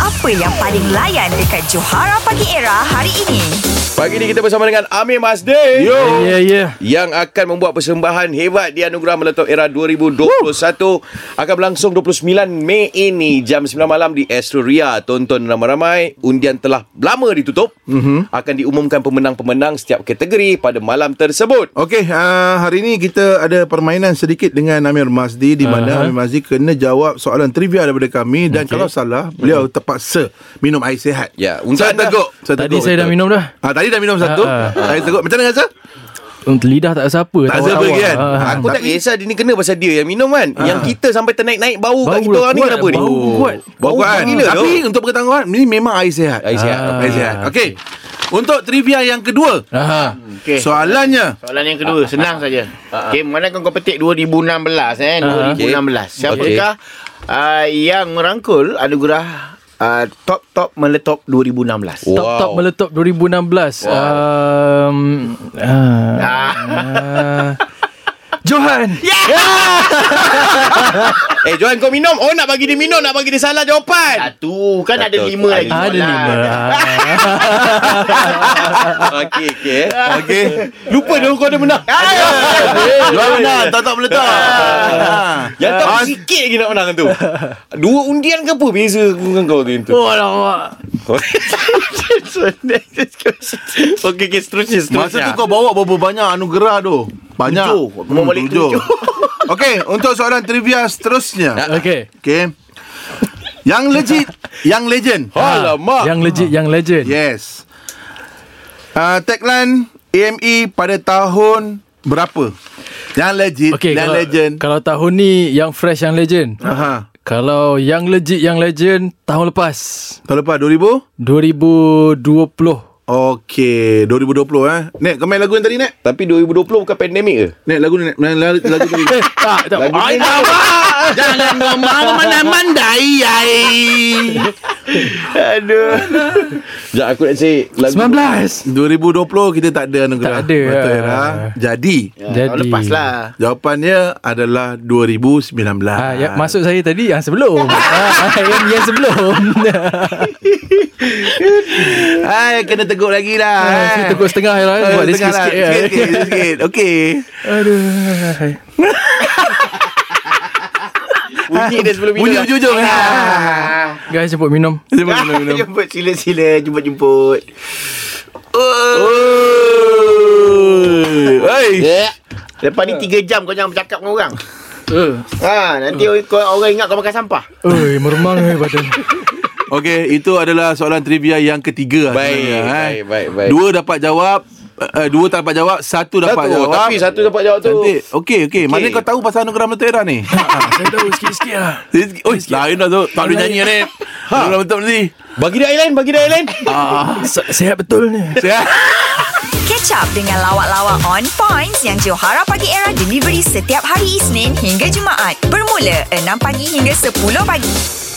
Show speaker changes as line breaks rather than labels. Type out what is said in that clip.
Apa yang paling layan dekat Johara Pagi Era hari ini?
Pagi ni kita bersama dengan Amir Masdi. Yo.
Ya, ya.
Yang akan membuat persembahan hebat di Anugerah Meletup Era 2021 akan berlangsung 29 Mei ini jam 9 malam di Astro Ria. Tonton ramai-ramai. Undian telah lama ditutup.
Mhm.
Mm-hmm. Akan diumumkan pemenang-pemenang setiap kategori pada malam tersebut.
Okey, uh, hari ni kita ada permainan sedikit dengan Amir Masdi di mana uh-huh. Amir Masdi kena jawab soalan trivia daripada kami dan okay. kalau salah beliau terpaksa minum air sihat.
Ya, untuk
saya
anda-
teguk. Saya
Tadi saya dah minum dah.
Ah, tadi dah minum satu.
Ah,
Uh-huh. Saya teguk. Macam mana rasa?
Untuk lidah tak rasa apa.
Tak rasa apa
tawar-tawar.
kan?
Ah,
Ah,
Aku tak
tapi-
kisah dia ni kena pasal dia yang minum kan. Yang kita sampai ternaik-naik bau,
Bau
kat kita
lah
orang ni
kuat,
kenapa ni?
bau kuat.
Bau
Bau
kuat
kan?
Oh, gila tu.
Tapi untuk pengetahuan ni memang air sihat.
Air sihat.
Ah, air sihat. Okey. Untuk trivia yang kedua.
Aha.
Hmm.
Okey.
Soalannya
Soalan yang kedua Senang saja Okey mana kau kau petik 2016 eh 2016 Siapakah ah, Yang merangkul Anugerah ah, Top top meletop 2016
Top top meletup 2016. Um, ah, ah. Johan.
Ya.
Eh Johan kau minum Oh nak bagi dia minum Nak bagi dia salah jawapan
Satu Kan ada
Satu.
lima lagi
Ada
soalan.
lima. Ah,
Okey okey eh. Ya,
Okey
Lupa dah kau dah menang
Jual menang Tak tak boleh tak Ah.
Yang tak sikit lagi nak menang tu Dua undian ke apa Beza aku dengan kau tu tu
Oh, alamak.
Okey okey seterusnya
Masa tu kau bawa berapa banyak anugerah tu? Banyak. Hmm,
Tujuh. Aku bawa balik tujuh.
Okey, untuk soalan trivia seterusnya.
Okay.
Okey. Yang legit, yang legend. Oh.
Alamak
Yang legit, yang legend.
Ya. Yes. Uh, tagline AME pada tahun berapa? Yang legit,
Okay,
yang
kalau,
legend.
kalau tahun ni yang fresh, yang legend.
Aha.
Kalau yang legit, yang legend, tahun lepas.
Tahun lepas 2000?
2020.
Okey, 2020 eh. Nek, kau main lagu yang tadi, Nek?
Tapi 2020 bukan pandemik ke
Nek, lagu ni, Nek. Main lagu, lagu tadi.
Eh, tak, tak.
Lagu ni
Jangan ngomong mana-mandai. ai.
Aduh
Sekejap aku nak cari lagu
19.
2020 kita tak ada anugerah.
Tak ada. Ya.
Betul Era. Jadi
Ya.
Tahun lepas lah
jawapannya adalah 2019.
Ah, yang masuk saya tadi yang sebelum. ah, yang, yang sebelum.
Hai kena teguk lagi lah.
Ah, saya teguk setengah je lah,
Eh,
buat dia
setengah lah.
sikit-sikit lah.
Sikit-sikit, sikit-sikit. Okey.
Aduh.
Bunyi dia sebelum minum
Bunyi
lah.
hujung-hujung. eh.
Guys, jemput minum.
Jom minum minum.
Jemput sila-sila Jemput-jemput
Oh. Oi.
Eh,
Lepas ni 3 jam kau jangan bercakap dengan orang
Eh,
Ha, nanti kau, orang ingat kau makan sampah
Oi, meremang eh badan.
Okey, itu adalah soalan trivia yang ketiga.
Baik,
sebenarnya,
baik,
eh.
baik, baik.
Dua dapat jawab, eh, dua tak dapat jawab, satu dapat
Satu
jawab.
Tapi satu dapat jawab tu
Cantik. Okey, okey. Mana kau tahu pasal anugerah Metera ni?
Ah, saya tahu sikit-sikit lah.
Rizky- Oi, lain dah tu. Tak boleh nyanyi ni. Ha. Dalam bentuk nanti.
Bagi dia airline Bagi dia airline
Ah, Se- Sehat betul ni.
Saya
Catch up dengan lawak-lawak on points yang Johara Pagi Era delivery setiap hari Isnin hingga Jumaat. Bermula 6 pagi hingga 10 pagi.